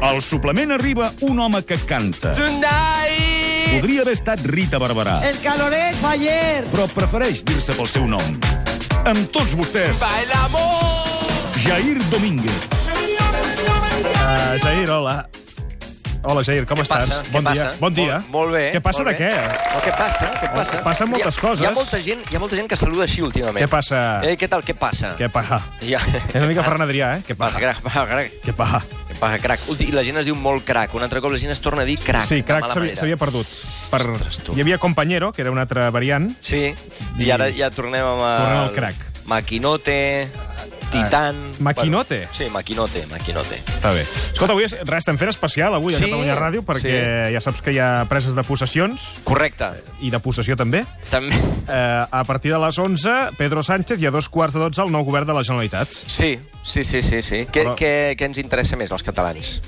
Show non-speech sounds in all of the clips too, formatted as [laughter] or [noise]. Al suplement arriba un home que canta. Tonight. Podria haver estat Rita Barberà, El caloret fa ayer. però prefereix dir-se pel seu nom. Amb tots vostès, Bailamos. Jair Domínguez. Uh, Jair, hola. Hola, Jair, com estàs? passa? Bon Què dia. passa? Bon dia. Molt- molt bé, Què passa molt de què? bé. Però què passa? Què passa? Passen moltes hi ha, coses. Hi ha molta gent, hi ha molta gent que saluda així últimament. Què passa? Ei, què tal? Què passa? Què paja? Ja. És [laughs] una mica Ferran Adrià, eh? Què Passa, paja? crac, passa, crac. Què paja? Què passa, crac? Ulti- I la gent es diu molt crac. Un altre cop la gent es torna a dir crac. Sí, Ah, de crac, mala s'havia- manera. s'havia perdut. Per... Ostres, tu. Hi havia Companyero, que era una altra variant. Sí, i ara ja tornem amb... el- Tornem al crac. Ah, Maquinote, Titan... Eh, Maquinote? Bueno, sí, Maquinote, Maquinote. Està bé. Escolta, avui és- res, estem fent especial avui a Sí, Catalunya Ràdio, perquè sí. ja saps que hi ha preses de possessions, Correcte. i de possessió també. També... Eh, a partir de les 11, Pedro Sánchez i a dos quarts de 12 el nou govern de la Generalitat. Sí, sí, sí, sí. sí. Què, Però- què, què ens interessa més als catalans?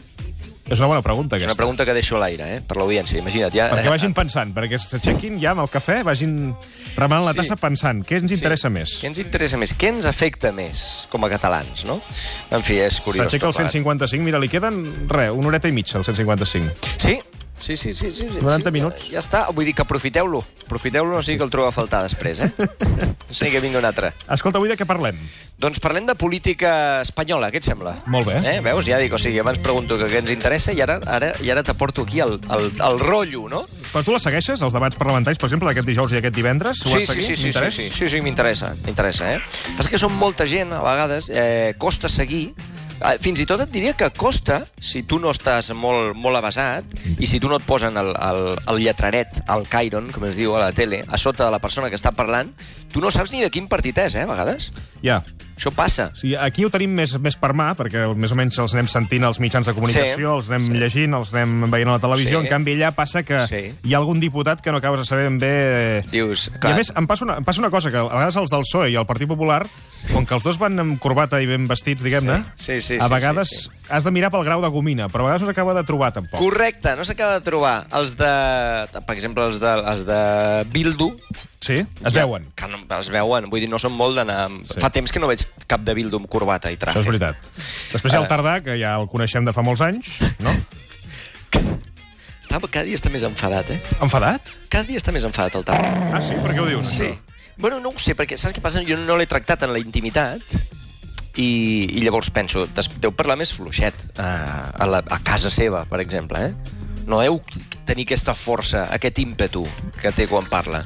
És una bona pregunta, És aquesta. una pregunta que deixo a l'aire, eh? Per l'audiència, imagina't. Ja... Perquè vagin pensant, perquè s'aixequin ja amb el cafè, vagin remant la Sí. tassa pensant. Què ens interessa més? Què ens interessa més? Què ens afecta més com a catalans, no? En fi, és curiós. S'aixeca el tot plegat. 155, mira, li queden, res, una horeta i mitja, el 155. Sí? Sí, sí, sí. sí, sí 90 sí. minuts. Ja està, vull dir que aprofiteu-lo. Aprofiteu-lo, no sigui que el trobo a faltar després, [laughs] eh? No sigui que vingui un altre. Escolta, avui de què parlem? Doncs parlem de política espanyola, què et sembla? Molt bé. Eh? Veus? Ja dic, o sigui, abans pregunto que què ens interessa i ara, ara, i ara t'aporto aquí el, el, el rotllo, no? Però tu la segueixes, els debats parlamentaris, per exemple, d'aquest dijous i aquest divendres? Ho Sí, has sí, seguit? sí, sí, sí, M'interessa? sí, sí, sí, m'interessa, m'interessa, eh? Passa que són molta gent, a vegades, eh, costa seguir, Eh, fins i tot et diria que costa, si tu no estàs molt, molt avasat i si tu no et posen el, el, el lletraret, el cairon, com es diu a la tele, a sota de la persona que està parlant, tu no saps ni de quin partit és, eh, a vegades. Ja. Això passa. Sí, aquí ho tenim més, més per mà, perquè més o menys els anem sentint als mitjans de comunicació, Sí. els anem llegint, els anem veient a la televisió. Sí. En canvi, allà passa que Sí. hi ha algun diputat que no acabes de saber ben bé... eh, Dius, I clar, a més, em passa, una, em passa una cosa, que a vegades els del PSOE i el Partit Popular, com que els dos van amb corbata i ben vestits, diguem-ne, Sí, sí, sí, a sí, vegades sí, sí. has de mirar pel grau de gomina, però a vegades no s'acaba de trobar, tampoc. Correcte, no s'acaba de trobar. Els de... Per exemple, els de, els de Bildu, Sí? Es Ja, veuen. Que no, es veuen, vull dir, no són molt d'anar... amb- Sí. Fa temps que no veig cap de Bildu amb corbata i traje. Això és veritat. Després hi Eh. ha el Tardà, que ja el coneixem de fa molts anys, no? Està, cada dia està més enfadat, eh? Enfadat? Cada dia està més enfadat el Tardà. Ah, sí? Per què ho dius? Sí. Bueno, no ho sé, perquè saps què passa? Jo no l'he tractat en la intimitat i, i llavors penso, des, deu parlar més fluixet eh, a, a, la, a casa seva, per exemple, eh? No deu tenir aquesta força, aquest ímpetu que té quan parla.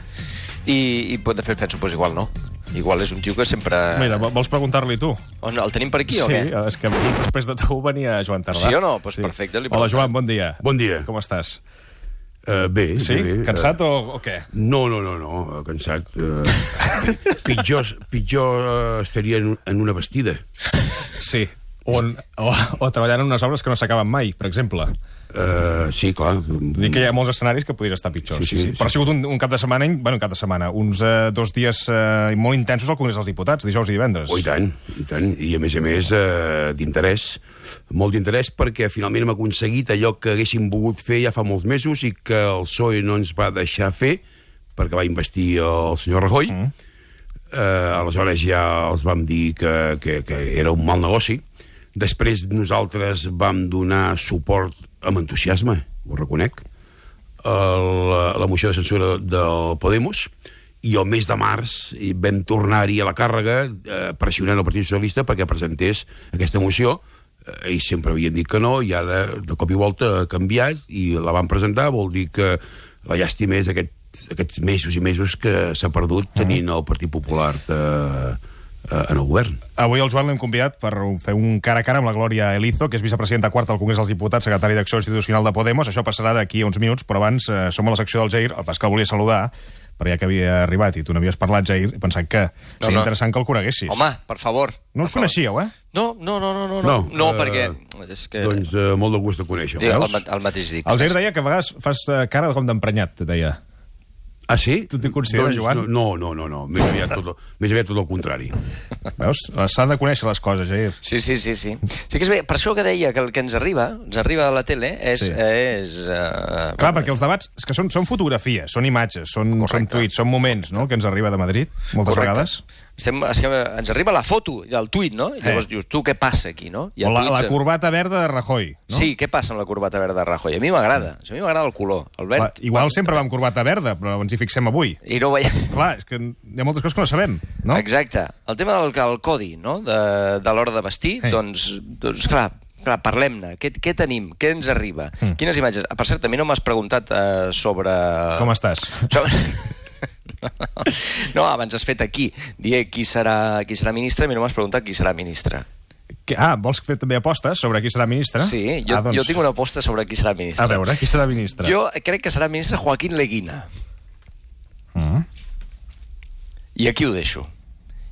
I, i pues, de fet penso, doncs pues, igual no. Igual és un tio que sempre... Mira, vo- vols preguntar-li tu? On, el tenim per aquí o sí, què? és que aquí després de tu venia Joan Tardà. Sí o no? Pues perfecte, li Hola, preguntaré. Joan, bon dia. Bon dia. Com estàs? Uh, bé, Sí? bé. Cansat o, o què? No, no, no, no, cansat. [laughs] Uh, pitjor, pitjor eh, estaria en, un- en una vestida. Sí. O, en, o, o treballant en unes obres que no s'acaben mai, per exemple. Uh, sí, clar. Vull dir que hi ha molts escenaris que podrien estar pitjors. Sí, sí, sí. Però ha sigut un, un cap de setmana, bueno, cap de setmana, uns uh, dos dies uh, molt intensos al Congrés dels Diputats, dijous i divendres. Oh, i tant, i tant. I a més a més, eh, d'interès, molt d'interès, perquè finalment hem aconseguit allò que haguéssim volgut fer ja fa molts mesos i que el PSOE no ens va deixar fer, perquè va investir el senyor Rajoy. Mm. Eh, aleshores ja els vam dir que, que, que era un mal negoci. Després nosaltres vam donar suport amb entusiasme, ho reconec, el, la moció de censura del Podemos i el mes de març hi vam tornar-hi a la càrrega eh, pressionant el Partit Socialista perquè presentés aquesta moció eh, ells sempre havien dit que no i ara de cop i volta ha canviat i la van presentar, vol dir que la llàstima és aquest, aquests mesos i mesos que s'ha perdut Mm-hmm. tenint el Partit Popular eh, eh, en el govern Avui el Joan l'hem convidat per fer un cara a cara amb la Glòria Elizo, que és vicepresidenta quarta del Congrés dels Diputats, secretari d'Acció Institucional de Podemos. Això passarà d'aquí a uns minuts, però abans eh, som a la secció del Jair. El pas que el volia saludar, però ja que havia arribat i tu n'havies parlat, Jair, he pensat que No, seria no. interessant que el coneguessis. Home, per favor. no per us favor. coneixíeu, eh? No, no, no, no, no. No, No, no eh, perquè... És que... doncs eh, molt de gust de conèixer Dic, el, veus? ma- el mateix dic. El Jair deia que a vegades fas eh, cara com d'emprenyat, deia. Ah, sí? Tu t'hi consideres, Joan? No, no, no, no, no. Més, [laughs] aviat tot, el- més aviat tot el contrari. Veus? S'han de conèixer les coses, Jair. Sí, sí, sí, sí. Sí que és bé, per això que deia que el que ens arriba, ens arriba de la tele, és... Sí. Sí. és uh, Clar, perquè els debats és que són, són fotografies, són imatges, són, són Correcte. tuits, són moments no, el que ens arriba de Madrid, moltes vegades. estem, és que ens arriba la foto del tuit, no? I llavors Eh. dius, tu, què passa aquí, no? O la, tuits- la corbata verda de Rajoy, no? No? Sí, què passa amb la corbata verda de Rajoy? A mi m'agrada. A mi m'agrada el color. El Clar, verd... igual sempre va amb corbata verda, però ens hi fixem avui. I no veiem... Clar, és que hi ha moltes coses que no sabem, no? No? Exacte. El tema del el codi, no?, de, de l'hora de vestir, Sí. sí. doncs, doncs clar, clar parlem-ne. Què, què tenim? Què ens arriba? Mm. Quines imatges? Ah, Per cert, també no m'has preguntat eh, sobre... Com estàs? sobre... No, abans has fet aquí, dir qui serà, qui serà ministre, a mi no m'has preguntat qui serà ministre. Que, ah, vols fer també apostes sobre qui serà ministre? Sí, jo, ah, doncs, jo tinc una aposta sobre qui serà ministre. A veure, qui serà ministre? Jo crec que serà ministre Joaquín Leguina. Mm. I aquí ho deixo.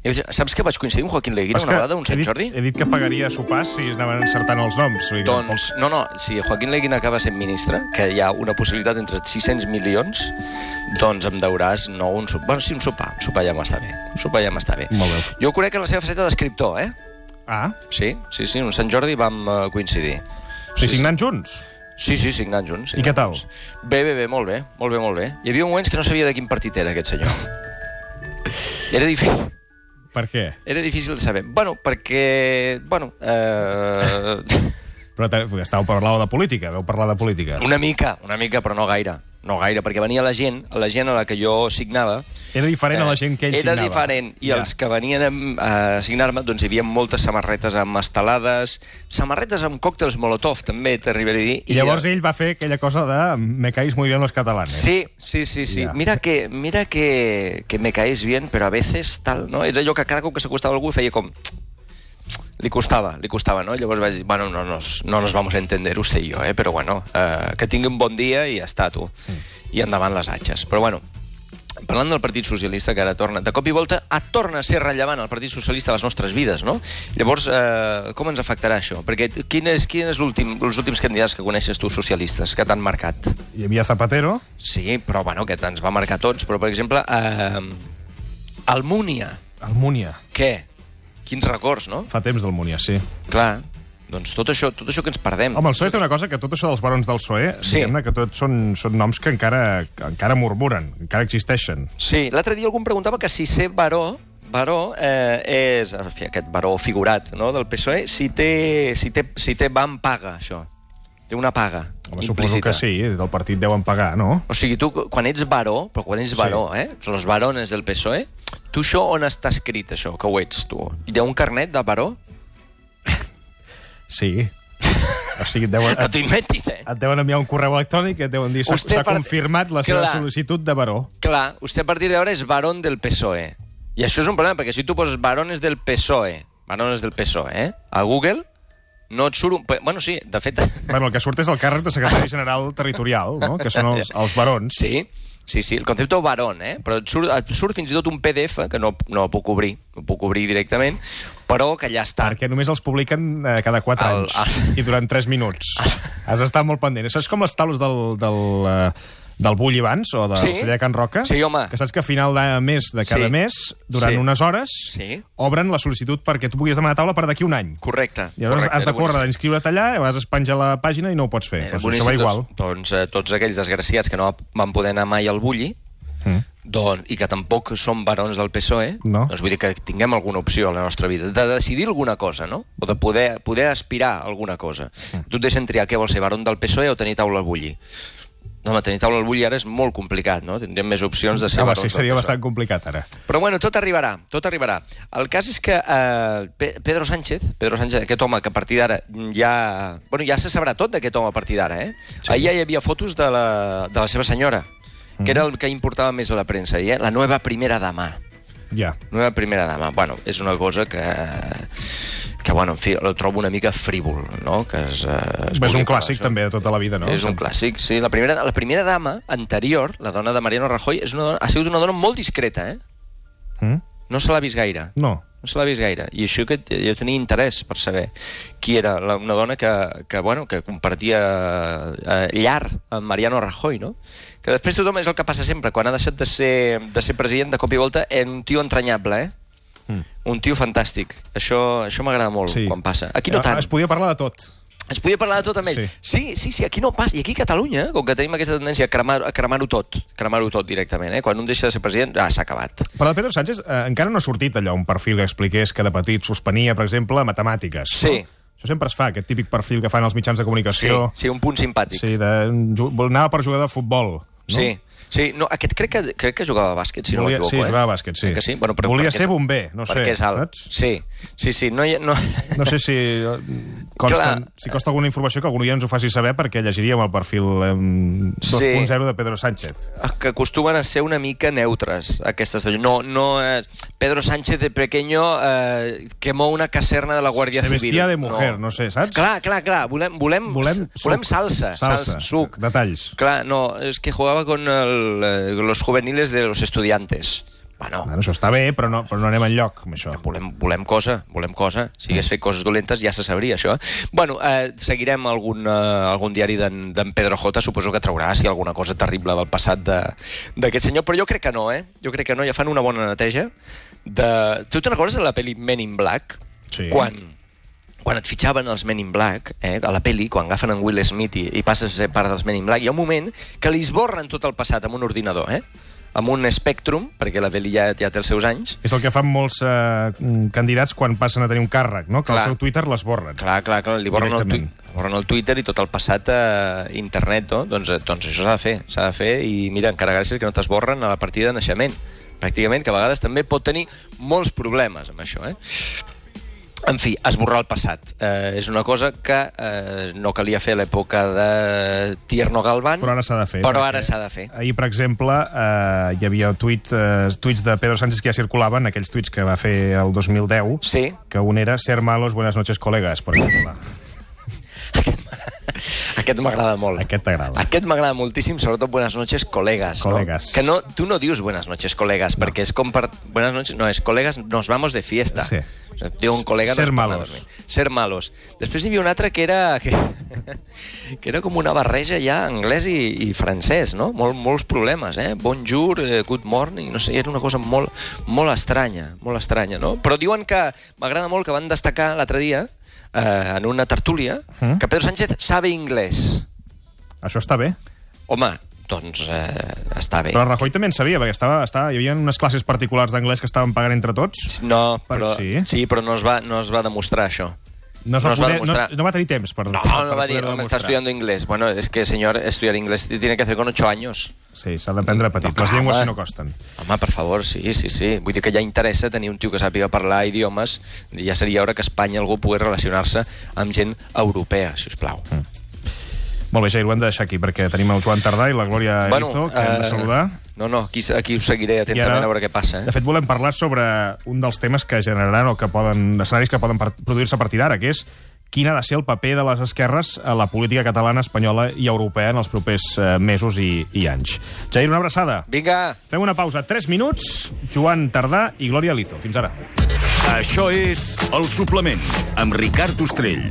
Jo, saps que vaig coincidir amb Joaquín Però Leguina és una que vegada, un he Sant dit, Jordi? He dit que pagaria sopars si anaven encertant els noms. Vull dir, que Doncs, no, no, si Joaquín Leguina acaba sent ministre, que hi ha una possibilitat entre 600 milions, doncs em deuràs no un sopar. Bueno, sí, un sopar. Un sopar ja m'està bé. Un sopar ja m'està bé. Molt bé. Jo ho conec en la seva faceta d'escriptor, eh? tampoc- Ah, Sí, sí, sí, un Sant Jordi vam eh, coincidir. o sigui, signant junts. Sí, sí, signant junts. I què tal? junts. Bé, bé, bé, molt bé, molt bé, molt bé. Hi havia moments que no sabia de quin partit era aquest senyor. Era difícil. Per què? Era difícil de saber. Bueno, perquè... Bueno, eh... [laughs] Però te- estàveu parlant de política, veu parlar de política. una mica, una mica, però no gaire. No gaire, perquè venia la gent, la gent a la que jo signava... eh, Era diferent a la gent que ell era signava. diferent, i Ja. els que venien amb- a signar-me, doncs hi havia moltes samarretes amb estelades, samarretes amb còctels Molotov, també, t'arribaré a dir. I llavors ell va fer aquella cosa de me caís muy bien los catalanes. Sí, sí, sí, sí. Ja. Mira que mira que, que me caís bien, però a veces tal, no? És allò que cada cop que s'acostava algú feia com... Li costava, li costava, no? Llavors vaig dir, bueno, no nos, no nos vamos a entender usted y yo, eh? Però bueno, eh, que tingui un bon dia i ja està, tu. I endavant les atxes. Però bueno, Parlant del Partit Socialista, que ara torna, de cop i volta a torna a ser rellevant el Partit Socialista a les nostres vides, no? Llavors, eh, com ens afectarà això? Perquè quin és, quin és l'últim, els últims candidats que coneixes tu, socialistes, que t'han marcat? Hi havia Zapatero, Sí, però bueno, aquest ens va marcar a tots. Però, per exemple, eh, el Múnia. Almúnia. Què? Quins records, no? Fa temps d'Almúnia, sí. Clar, doncs tot això, tot això que ens perdem. Home, el PSOE té una cosa que tot això dels barons del PSOE, Sí. diguem-ne que tots són, són noms que encara, que encara murmuren, encara existeixen. Sí, l'altre dia algú em preguntava que si ser baró, baró eh, és en fi, aquest baró figurat no, del PSOE, E, si té, si té, si té van paga, això. Té una paga Home, suposo implícita. que sí, del partit deuen pagar, no? O sigui, tu, quan ets baró, però quan ets baró, sí. eh? Són els barones del PSOE. E, Tu això on està escrit, això, que ho ets, tu? Hi ha un carnet de baró? Sí. O sigui, et deuen, [laughs] No t'inventis, eh? et deuen enviar un correu electrònic i et deuen dir s'ha Vostè s'ha per- confirmat la seva Clar. sol·licitud de baró. Clar, vostè a partir d'ara és barón del PSOE. E. I això és un problema, perquè si tu poses barones del PSOE, E, barones del PSOE, eh? a Google, no et surt un... pe- Bueno, sí, de fet... [laughs] Bueno, el que surt és el càrrec de secretari general territorial, no? que són els, els barons. Sí, sí, sí, el concepte barón, eh? Però et surt, et surt fins i tot un PDF, que no, no puc obrir, no puc obrir directament, però que ja està. Perquè només els publiquen eh, cada 4 El- anys i durant 3 [laughs] minuts. Has d'estar molt pendent. Això és com les taules del, del, eh, del Bull Ibans o del Sí. celler de Can Roca, Sí, home. que saps que a final de mes de cada Sí. mes, durant Sí. unes hores, Sí. obren la sol·licitud perquè tu puguis demanar taula per d'aquí un any. Correcte. I llavors correcte, has de era córrer a boníssim. inscriure't allà, a vegades es penja la pàgina i no ho pots fer. Era Però això boníssim, va igual. Doncs, doncs eh, tots aquells desgraciats que no van poder anar mai al Bulli, Mm. Doncs, i que tampoc som barons del PSOE, No. doncs vull dir que tinguem alguna opció a la nostra vida, de decidir alguna cosa, no? O de poder, poder aspirar a alguna cosa. Mm. Tu et deixen triar què vols ser, baron del PSOE o tenir taula al bulli. No, home, tenir taula al bulli ara és molt complicat, no? Tindríem més opcions de ser Home, barons Ah, sí, del seria PSOE. bastant complicat ara. Però bueno, tot arribarà, tot arribarà. El cas és que eh, Pe- Pedro Sánchez, Pedro Sánchez, aquest home que a partir d'ara ja... Bueno, ja se sabrà tot d'aquest home a partir d'ara, eh? Sí. Ahir ja hi havia fotos de la, de la seva senyora, que Mhm. era el que importava més a la premsa, ahir, eh? la nueva primera dama. Ja. Nueva primera dama, bueno, és una cosa que que, bueno, en fi, la trobo una mica frívol, no? Que és, eh, És, és un clàssic també de tota la vida, no? És un clàssic, sí. La primera, la primera dama anterior, la dona de Mariano Rajoy, és una dona, ha sigut una dona molt discreta, eh? Mm? No se l'ha vist gaire. No. No se l'ha vist gaire. I això que t- jo tenia interès per saber qui era la, una dona que, que, bueno, que compartia eh, llar amb Mariano Rajoy, no? Que després tothom és el que passa sempre. Quan ha deixat de ser, de ser president, de cop i volta, és un tio entranyable, eh? Mm. Un tio fantàstic. Això, això m'agrada molt, Sí. quan passa. Aquí no Eh, tant. Es podia parlar de tot. Ens podia parlar de tot amb ell. Sí, sí, sí, aquí no passa. I aquí a Catalunya, eh, com que tenim aquesta tendència a cremar- a cremar-ho cremar tot, cremar-ho tot directament, eh? quan un deixa de ser president, ah, s'ha acabat. Però de Pedro Sánchez eh, encara no ha sortit allò, un perfil que expliqués que de petit suspenia, per exemple, matemàtiques. Sí. No? Això sempre es fa, aquest típic perfil que fan els mitjans de Sí, comunicació. sí un punt simpàtic. sí de, ju- anava per jugar de futbol. No? Sí. Sí, no, aquest crec que, crec que jugava a bàsquet, si Volia- no m'equivoco. sí, eh? jugava a bàsquet, sí. Crec Que sí? Bueno, però Volia perquè ser és- bomber, no sé, Perquè és alt. saps? Sí, sí, sí, no hi ha... No... [laughs] No sé si eh, consta, Clar. si costa alguna informació que algun dia ens ho faci saber perquè llegiríem el perfil eh, 2.0 de Pedro Sánchez. que acostumen a ser una mica neutres, aquestes. No, no, eh, Pedro Sánchez de pequeño eh, quemó una caserna de la Guàrdia Se Civil. vestia de mujer, no, sé, saps? Clar, clar, clar, volem, Volem volem, volem, suc. Mm. volem salsa, Salsa, salsa, suc. detalls. Clar, no, es que jugaba con el, eh, los juveniles de los estudiantes. Bueno, Bueno, això està bé, però no, però no anem enlloc amb això. Mm. volem, volem cosa, volem cosa. Si hagués fet coses dolentes ja se sabria, això. Bueno, eh, seguirem algun, eh, algun diari d'en d'en Pedro J, suposo que traurà si alguna cosa terrible del passat de- d'aquest senyor, però jo crec que no, eh? Jo crec que no, ja fan una bona neteja. De... Tu te'n recordes de la pel·li Men in Black? Sí. Quan quan et fitxaven els Men in Black, eh, a la peli, quan agafen en Will Smith i, i passes a ser part dels Men in Black, hi ha un moment que li esborren tot el passat amb un ordinador, eh? amb un Spectrum, perquè la peli ja, ja té els seus anys, És el que fan molts eh, mm, candidats quan passen a tenir un càrrec, no? Que Clar. el seu Twitter les borren. Clar, clar, clar, li borren el, Directament. tui- borren el Twitter i tot el passat a internet, no? Doncs, eh, doncs això s'ha de fer, s'ha de fer, i mira, encara gràcies que no t'esborren a la partida de naixement, pràcticament, que a vegades també pot tenir molts problemes amb això, eh? En fi, esborrar el passat. Eh, és una cosa que eh, no calia fer a l'època de Tierno Galván, Però ara s'ha de fer. Però perquè ara s'ha de fer. Ahir, per exemple, eh, hi havia tuit, eh, tuits de Pedro Sánchez que ja circulaven, aquells tuits que va fer el 2010, Sí, que un era ser malos, buenas noches, colegas, per exemple. aquest m'agrada molt. Aquest t'agrada. Aquest m'agrada moltíssim, sobretot Buenas noches, colegas. Colegas. No? Que no, tu no dius Buenas noches, colegas, no. perquè és com per... Buenas noches, no, és colegas, nos vamos de fiesta. Sí. O sigui, diu un col·lega... Ser no es parla malos. de dormir. Ser malos. Després hi havia un altre que era... Que, [laughs] que era com una barreja ja anglès i, i francès, no? Mol, molts problemes, eh? Bonjour, eh, good morning, no sé, era una cosa molt, molt estranya, molt estranya, no? Però diuen que... M'agrada molt que van destacar l'altre dia eh, en una tertúlia, Mm. que Pedro Sánchez sabe inglès. Això està bé. Home, doncs eh, està bé. Però Rajoy també en sabia, perquè estava, estava, hi havia unes classes particulars d'anglès que estaven pagant entre tots. No, Per- però, sí. sí, però no es, va, no es va demostrar això. No, es No va es va poder, no, demostrar. no va tenir temps per, No, per, no per va dir, poder-ho home, está demostrar. estudiando inglés. Bueno, es que, señor, estudiar inglés tiene que hacer con 8 años. Sí, s'ha d'aprendre petit. No, Les llengües home. si no costen. Home, per favor, sí, sí, sí. Vull dir que ja interessa tenir un tio que sàpiga parlar idiomes. Ja seria hora que a Espanya algú pogués relacionar-se amb gent europea, si us plau. Mm. Molt bé, Jair, ho hem de deixar aquí, perquè tenim el Joan Tardà i la Glòria Erizo, que hem de eh, saludar. No, no, aquí, aquí us seguiré I atentament a veure què passa. De Eh? fet, volem parlar sobre un dels temes que generaran o que poden, escenaris que poden part- produir-se a partir d'ara, que és quin ha de ser el paper de les esquerres a la política catalana, espanyola i europea en els propers eh, mesos i, i anys. Jair, una abraçada. Vinga! Fem una pausa. 3 minuts, Joan Tardà i Glòria Lizo. Fins ara. Això és El Suplement, amb Ricard Ostrell.